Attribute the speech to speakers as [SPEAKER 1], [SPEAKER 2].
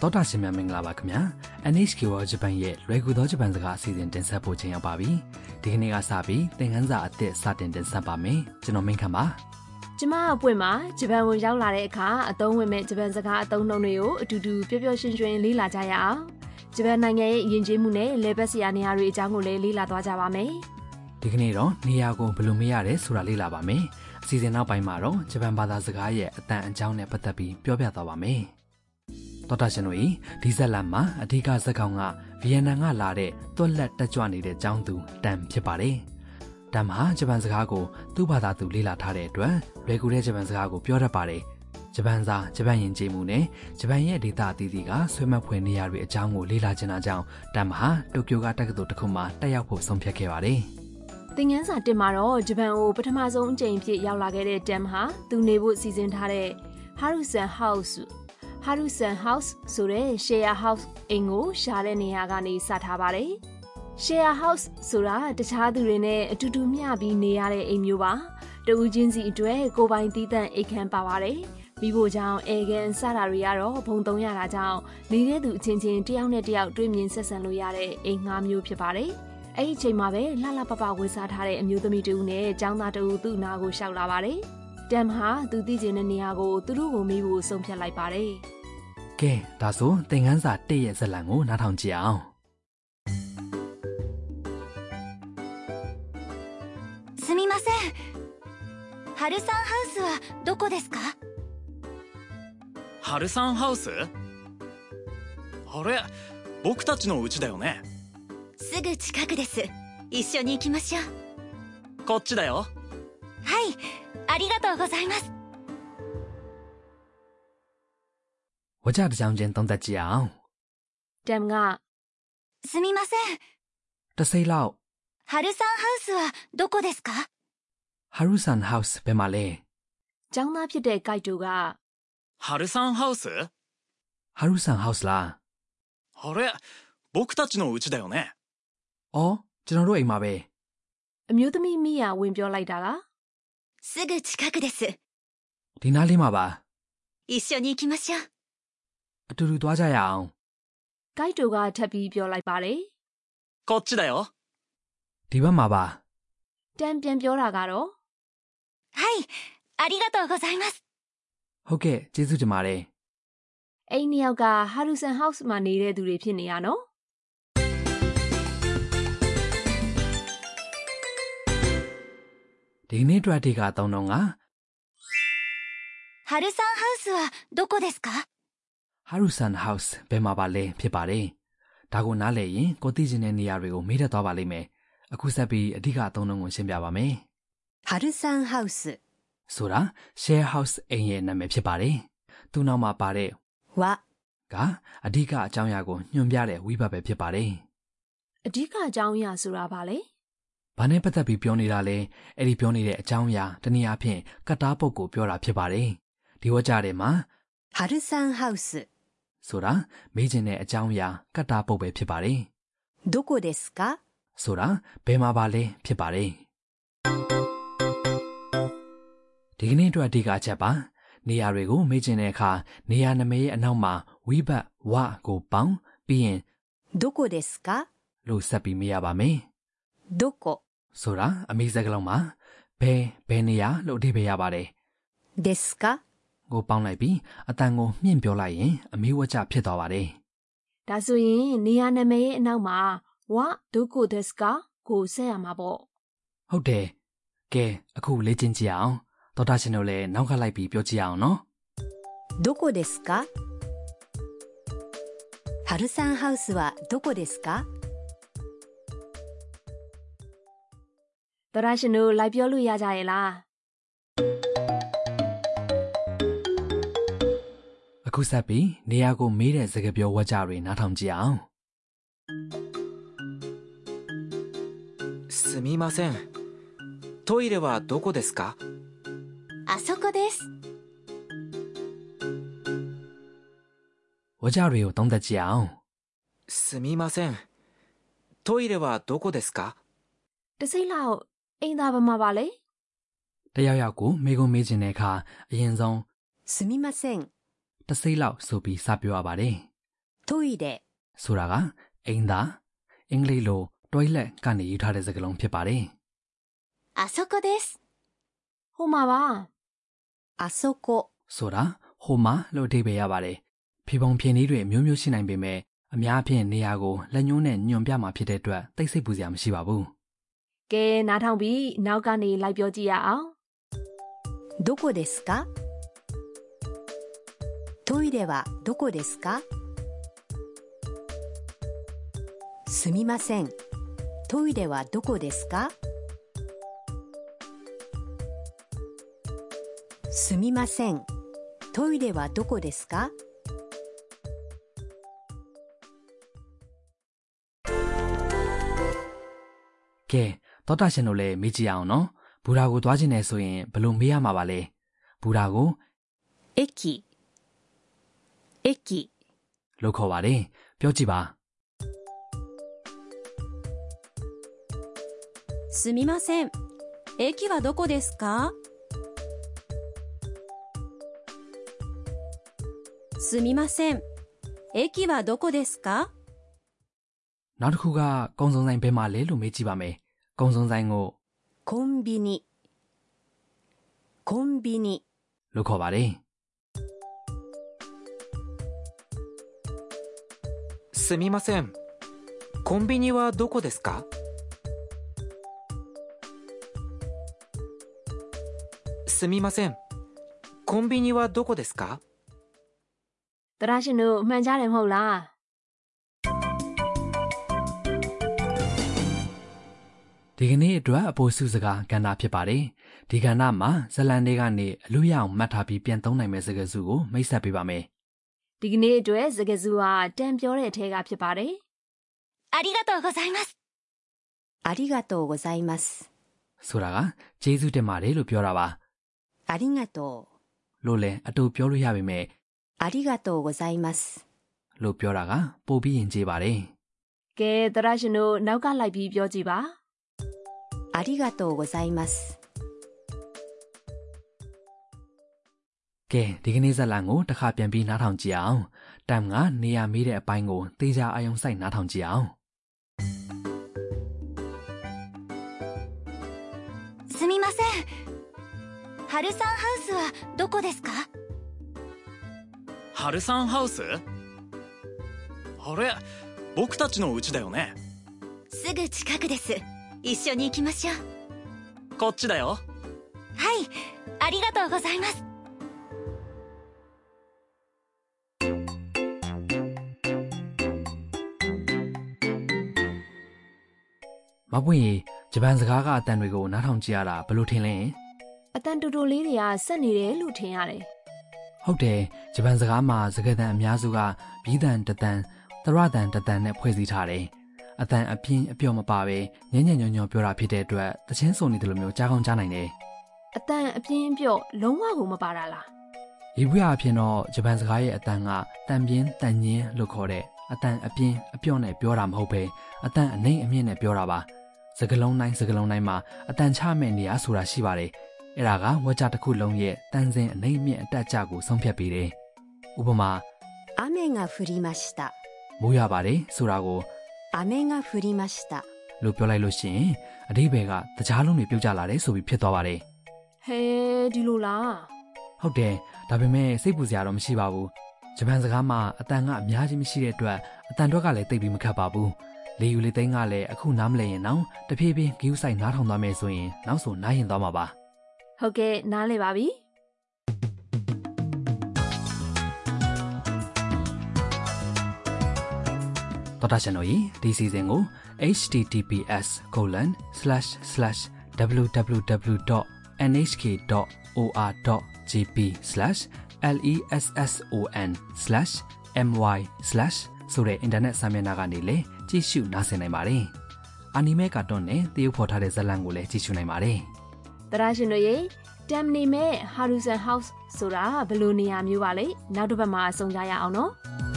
[SPEAKER 1] တောတာရှင်များမင်္ဂလာပါခင်ဗျာ NHK World Japan ရဲ့လွယ်ကူသောဂျပန်စကားအစီအစဉ်တင်ဆက်ဖို့ချိန်ရောက်ပါပြီဒီကနေ့ကစပြီးသင်ခန်းစာအသစ်စတင်တင်ဆက်ပါမယ်ကျွန်တော်မင်းခမ်းပါ
[SPEAKER 2] ကျမအပွင့်မှာဂျပန်ဝင်ရောက်လာတဲ့အခါအသုံးဝင်မဲ့ဂျပန်စကားအသုံးအနှုန်းတွေကိုအတူတူပျော်ပျော်ရွှင်ရွှင်လေ့လာကြရအောင်ဂျပန်နိုင်ငံရဲ့ယဉ်ကျေးမှုနဲ့လေပတ်စရာနေရာတွေအကြောင်းကိုလည်းလေ့လာသွားကြပါမယ်
[SPEAKER 1] ဒီကနေ့တော့နေရာကိုဘယ်လိုမရတယ်ဆိုတာလေ့လာပါမယ်အစီအစဉ်နောက်ပိုင်းမှာတော့ဂျပန်ဘာသာစကားရဲ့အတန်အကြောင်းနဲ့ပတ်သက်ပြီးပြောပြသွားပါမယ်တောတာရှင်တို့ဤဒီဇက်လန်မှာအဓိကဇက်ကောင်ကဗီယက်နမ်ကလာတဲ့တွက်လက်တက်ကြွနေတဲ့ចောင်းသူတန်ဖြစ်ပါတယ်တမ်ဟာဂျပန်စကားကိုသူ့ဘာသာသူလေ့လာထားတဲ့အတွက်လွယ်ကူတဲ့ဂျပန်စကားကိုပြောတတ်ပါတယ်ဂျပန်စာဂျပန်ယဉ်ကျေးမှုနဲ့ဂျပန်ရဲ့ဒေသအသီးသီးကဆွေးမဖွယ်နေရာတွေအကြောင်းကိုလေ့လာချင်တာကြောင့်တမ်ဟာတိုကျိုကတက္ကသိုလ်တစ်ခုမှာတက်ရောက်ဖို့ဆုံးဖြတ်ခဲ့ပါတယ်
[SPEAKER 2] သင်ခန်းစာတင်မှာတော့ဂျပန်ကိုပထမဆုံးအကြိမ်အဖြစ်ရောက်လာခဲ့တဲ့တမ်ဟာသူနေဖို့စီစဉ်ထားတဲ့ Harusan House Harusan House ဆိုတဲ့ share house အိမ်ကိုရှာတဲ့နေရာကနေစထားပါတယ် share house ဆိုတာတခြားသူတွေနဲ့အတူတူမျှပြီးနေရတဲ့အိမ်မျိုးပါတဦးချင်းစီအတွက်ကိုယ်ပိုင်သီးသန့်အိမ်ခန်းပါပါတယ်မိဖို့ကြောင့်အဲကန်စတာတွေကတော့ဘုံသုံးရတာကြောင့်နေတဲ့သူအချင်းချင်းတယောက်နဲ့တယောက်တွေ့မြင်ဆက်ဆံလို့ရတဲ့အိမ်ငှားမျိုးဖြစ်ပါတယ်အဲ့ဒီအချိန်မှာပဲလှလှပပဝေစားထားတဲ့အမျိုးသမီးတူနဲ့ចောင်းသားတူသူ့အနာကိုရှောက်လာပါတယ်တမ်ဟာသူသိကျင်တဲ့နေရာကိုသူတို့ကိုမိဖို့ဆုံးဖြတ်လိုက်ပါတယ်
[SPEAKER 1] ကဲဒါဆိုသင်ခန်းစာ1ရဲ့ဇက်လန်ကိုနားထောင်ကြည့်အောင်
[SPEAKER 3] すみませんハルサンハウスはどこですか
[SPEAKER 4] ハルサンハウスあれ僕たちの家だよね
[SPEAKER 3] すぐ近くです一緒に行きましょうは
[SPEAKER 4] こっちだよ
[SPEAKER 3] いありがとうございます
[SPEAKER 1] ဝကြတစ်ကြောင်ချင်းသုံးသပ်ကြည့်အောင်
[SPEAKER 2] တမ်က
[SPEAKER 3] すみません
[SPEAKER 1] တစ်စိမ့်လောက်
[SPEAKER 3] ハルサンハウスはどこですか
[SPEAKER 1] ဟာရူဆန်ဟောက်စ်ဘယ်မှာလဲ
[SPEAKER 2] ចောင်းသားဖြစ်တဲ့ကိုက်တူက
[SPEAKER 4] ハルサンハウスあ
[SPEAKER 1] ဟာရူဆန်ဟောက်စ်လား
[SPEAKER 4] れ僕たちの家だよね
[SPEAKER 1] အော်ကျွန်တော်တို့အိမ်မှာပဲ
[SPEAKER 2] အမျိုးသမီးမိယာဝင်ပြောလိုက်တာက
[SPEAKER 3] すぐ近くです
[SPEAKER 1] ဒီနားလေးမှာပါ
[SPEAKER 3] 一緒に行きましょう
[SPEAKER 1] အတူတူသွားကြရအောင်
[SPEAKER 2] ကိုက်တူကထပ်ပြီးပြောလိုက်ပါတယ်
[SPEAKER 4] こっちだよ
[SPEAKER 1] ဒီဘက်မှာပါ
[SPEAKER 2] တမ်ပြန်ပြောတာကတော့
[SPEAKER 3] はいありがとうございます
[SPEAKER 1] ဟုတ်ကဲ့ကျေးဇူးတင်ပါတယ်
[SPEAKER 2] အိမ်နှစ်ယောက်ကဟာရူဆန်ဟောက်စ်မှာနေတဲ့သူတွေဖြစ်နေရနော်
[SPEAKER 1] ဒီနေ့အတွက်ဒီကအသုံးတော့က
[SPEAKER 3] ハルサンハウスはどこですか
[SPEAKER 1] ဟာရူဆန်ဟောက်စ်ဘယ်မှာပါလဲဖြစ်ပါတယ်ဒါကိုနားလည်ရင်ကိုသိချင်တဲ့နေရာတွေကိုမေးတတ်သွားပါလိမ့်မယ်အခုဆက်ပြီးအဓိကအသုံးတော့ကိုရှင်းပြပါမယ်
[SPEAKER 3] ハルサンハウス
[SPEAKER 1] ဆိုတာ share house အိမ်ရဲ့နာမည်ဖြစ်ပါတယ်သူ့နောက်မှာပါတဲ့
[SPEAKER 3] は
[SPEAKER 1] ကအဓိကအကြောင်းအရာကိုညွှန်ပြတဲ့ဝိဘတ်ပဲဖြစ်ပါတယ်
[SPEAKER 2] အဓိကအကြောင်းအရာဆိုတာဗာလေ
[SPEAKER 1] ။ဘာနဲ့ပတ်သက်ပြီးပြောနေတာလဲအဲ့ဒီပြောနေတဲ့အကြောင်းအရာတနည်းအားဖြင့်ကတ်တားပုတ်ကိုပြောတာဖြစ်ပါတယ်။ဒီဝကြတဲ့မှာ
[SPEAKER 3] ハルサンハウス
[SPEAKER 1] ဆိုတာမေးချင်တဲ့အကြောင်းအရာကတ်တားပုတ်ပဲဖြစ်ပါတယ်
[SPEAKER 3] どこですか
[SPEAKER 1] ။ဆိုတာဘယ်မှာပါလဲဖြစ်ပါတယ်။ဒီကနေ့အတွက်အဓိကအချက်ပါနေရာတွေကိုမေးချင်တဲ့အခါနေရာနာမည်ရဲ့အနောက်မှာဝိဘတ်ဝကိုပေါင်းပြီးရင်
[SPEAKER 3] どこですか
[SPEAKER 1] လို့ဆက်ပြီးမေးရပါမယ်။
[SPEAKER 3] どこ
[SPEAKER 1] ဆိုတာအမိစကားလုံးမှာဘယ်ဘယ်နေရာလို့အဓိပ္ပာယ်ရပါတယ်
[SPEAKER 3] ですか
[SPEAKER 1] ကိုပေါင်းလိုက်ပြီးအတန်ကိုမြင့်ပြောလိုက်ရင်အမိဝကျဖြစ်သွားပါတယ်
[SPEAKER 2] ဒါဆိုရင်နေရာနာမည်ရဲ့အနောက်မှာဝဒုကိုဒက်စကာကိုဆက်ရမှာပေါ့
[SPEAKER 1] ဟုတ်တယ်ကဲအခုလေ့ကျင့်ကြည့်အောင်ဒေါက်တာရှင်တို့လည်းနောက်ကလိုက်ပြီးပြောကြည့်အောင်နော်
[SPEAKER 3] どこですかハルサンハウスはどこですか
[SPEAKER 2] သောရရှင်တို့လိုက်ပြောလို့ရကြရဲ့လား
[SPEAKER 1] အခုဆက်ပြီးနေရာကိုမေးတဲ့စကားပြောဝကျတွေနားထောင်ကြည့်အောင်
[SPEAKER 5] すみませんトイレはどこですか
[SPEAKER 3] あそこです
[SPEAKER 1] ဝကျတွေကိုသုံးသပ်ကြည့်အောင်
[SPEAKER 5] すみませんトイレはどこですか
[SPEAKER 2] တစိမ့်လောက်အိမ်သားဘာမှာပါလေ
[SPEAKER 1] တယောက်ယောက်ကိုမေးခွန်းမေးခြင်းတဲ့အခါအရင်ဆုံး
[SPEAKER 3] すみません
[SPEAKER 1] တစ်စိမ့်လောက်ဆိုပြီးစပြောရပါတယ်
[SPEAKER 6] トイレ、
[SPEAKER 1] ဆိုတာကအိမ်သာအင်္ဂလိပ်လို toilet ကနေယူထားတဲ့စကားလုံးဖြစ်ပါတယ်
[SPEAKER 3] あそこです。
[SPEAKER 2] ဟိုမှာပါ
[SPEAKER 6] あそこ、
[SPEAKER 1] ဆိုတာဟိုမှာလို့အဓိပ္ပာယ်ရပါတယ်ဖြေပုံဖြေနည်းတွေအမျိုးမျိုးရှိနိုင်ပေမဲ့အများအပြားနေရာကိုလက်ညှိုးနဲ့ညွန်ပြမှာဖြစ်တဲ့အတွက်တိတ်ဆိတ်ပူစရာမရှိပါဘူး
[SPEAKER 2] ကဲနားထောင်ပြီးနောက်ကနေလိုက်ပြောကြည့်ရအောင်
[SPEAKER 6] どこですかトイレはどこですかすみません。トイレはどこですかすみません。トイレはどこですか
[SPEAKER 1] ကဲသောတာရှင်တို့လည်းမေးကြည့်ရအောင်နော်ဘူရာကိုသွားခြင်းနဲ့ဆိုရင်ဘယ်လိုမေးရမှာပါလဲဘူရာကို
[SPEAKER 6] 駅、駅、
[SPEAKER 1] လို့ခေါ်ပါတယ်ပြောကြည့်ပါ
[SPEAKER 7] すみません。駅はどこですかすみません。駅はどこですか
[SPEAKER 1] နောက်တစ်ခုကကုံစုံဆိုင်ဘယ်မှာလဲလို့မေးကြည့်ပါမယ်ကုံစုံဆိုင်ကို
[SPEAKER 6] コンビニ、コンビニ、
[SPEAKER 1] လို့ခေါ်ပါတယ်
[SPEAKER 5] すみませんコンビニはどこですかすみませんコンビニはどこですか
[SPEAKER 2] သရရှင်တို့အမှန်ကြားတယ်မဟုတ်လား
[SPEAKER 1] ဒီကနေ့အတွက်အပိုစုစကားကဏ္ဍဖြစ်ပါတယ်ဒီကဏ္ဍမှာဇတ်လန်တွေကနေအလူရအောင်မှတ်ထားပြီးပြန်သုံးနိုင်မယ့်စကားစုကိုမိတ်ဆက်ပေးပါမယ်
[SPEAKER 2] ဒီကနေ့အတွက်စကားစုဟာတန်ပြောတဲ့အထက်ကဖြစ်ပါတယ်
[SPEAKER 3] ありがとうございます。
[SPEAKER 6] ありがとうございます。
[SPEAKER 1] ဆိုတာကကျေးဇူးတင်ပါတယ်လို့ပြောတာပါ
[SPEAKER 6] ありがとう、
[SPEAKER 1] လို့လည်းအတူပြောလို့ရပေမဲ့
[SPEAKER 6] ありがとうございます。
[SPEAKER 1] လို့ပြောတာကပို့ပြီးရင်ကျေးပါတယ်
[SPEAKER 2] ကဲသရရှင်တို့နောက်ကလိုက်ပြီးပြောကြည့်ပါ
[SPEAKER 6] ありがとうございます。
[SPEAKER 1] ကဲဒီကနေ့ဇတ်လန်ကိုတစ်ခါပြန်ပြီးနားထောင်ကြည့်အောင်တမ်ကနေရာမေးတဲ့အပိုင်းကိုသေချာအယုံစိုက်နားထောင်ကြည့်အောင်
[SPEAKER 3] すみません。ハルサンハウスはどこですか
[SPEAKER 4] ハルサンハウスあれ僕たちの家だよね
[SPEAKER 3] すぐ近くです。一緒に行きましょう。は
[SPEAKER 4] こっちだよ
[SPEAKER 3] い。ありがとうございます。
[SPEAKER 1] မပွင့်ရေဂျပန်စကားကအတန်တွေကိုနားထောင်ကြည့်ရတာဘယ်လိုထင်လဲ
[SPEAKER 2] အတန်တူတူလေးတွေကဆက်နေတယ်လို့ထင်ရတယ်
[SPEAKER 1] ဟုတ်တယ်ဂျပန်စကားမှာစကားသံအများစုကဘီးသံတစ်သံသရသံတစ်သံနဲ့ဖွဲ့စည်းထားတယ်အတန်အပြင်းအပြော့မပါပဲညံ့ညံ့ညောညောပြောတာဖြစ်တဲ့အတွက်တချင်းစုံနေတယ်လို့မျိုးကြားကောင်းကြားနိုင်တယ်
[SPEAKER 2] အတန်အပြင်းအပြော့လုံးဝကိုမပါတာလား
[SPEAKER 1] ဒီဘွေအဖြစ်တော့ဂျပန်စကားရဲ့အတန်ကတန်ပြင်းတန်ညင်းလို့ခေါ်တဲ့အတန်အပြင်းအပြော့နဲ့ပြောတာမဟုတ်ပဲအတန်အနှိမ့်အမြင့်နဲ့ပြောတာပါစကလုံးတိုင်းစကလုံးတိုင်းမှာအတန်ချမဲ့နေရဆိုတာရှိပါတယ်အဲ့ဒါကဝါကြတစ်ခုလုံးရဲ့တန်စင်အနှိမ့်အမြင့်အတက်အကျကိုဆုံးဖြတ်ပေးတယ်ဥပမာ
[SPEAKER 6] 雨が降りました。
[SPEAKER 1] မိုးရပါတယ်ဆိုတာကို
[SPEAKER 6] 雨が降りました。
[SPEAKER 1] လို့ပြောလိုက်လို့ရှိရင်အတိဘယ်ကတကြားလုံးတွေပြုတ်ကျလာတယ်ဆိုပြီးဖြစ်သွားပါတယ်
[SPEAKER 2] ဟဲဒီလိုလား
[SPEAKER 1] ဟုတ်တယ်ဒါပေမဲ့စိတ်ပူစရာတော့မရှိပါဘူးဂျပန်စကားမှာအတန်ကအများကြီးမရှိတဲ့အတွက်အတန်တွက်ကလည်းတိတ်ပြီးမခတ်ပါဘူးလေယူလေသိန်းကလည်းအခုနားမလဲရင်တော့တဖြည်းဖြည်းဂီးဥဆိုင်နားထောင်သွားမယ်ဆိုရင်နောက်ဆိုနားရင်သွားမှာပါ
[SPEAKER 2] ဟုတ်ကဲ့နားလည်ပါပြီ
[SPEAKER 1] တော်တာရှင်တို့ဤဒီစီစဉ်ကို https://www.nhk.or.jp/lesson/my/ ဆိုတဲ့ internet စာမျက်နှာကနေလည်းကြည့်ရှုနားဆင်နိုင်ပါတယ်။ anime cartoon နဲ့သရုပ်ဖော်ထားတဲ့ဇာတ်လမ်းကိုလည်းကြည့်ရှုနိုင်ပါတယ်
[SPEAKER 2] တရရှင်တို့ရဲ့တမ်နေမဲ့ဟာရူဆန်ဟောက်စ်ဆိုတာဘယ်လိုနေရာမျိုးပါလဲနောက်တစ်ပတ်မှာအဆုံးကြရအောင်နော်
[SPEAKER 1] ။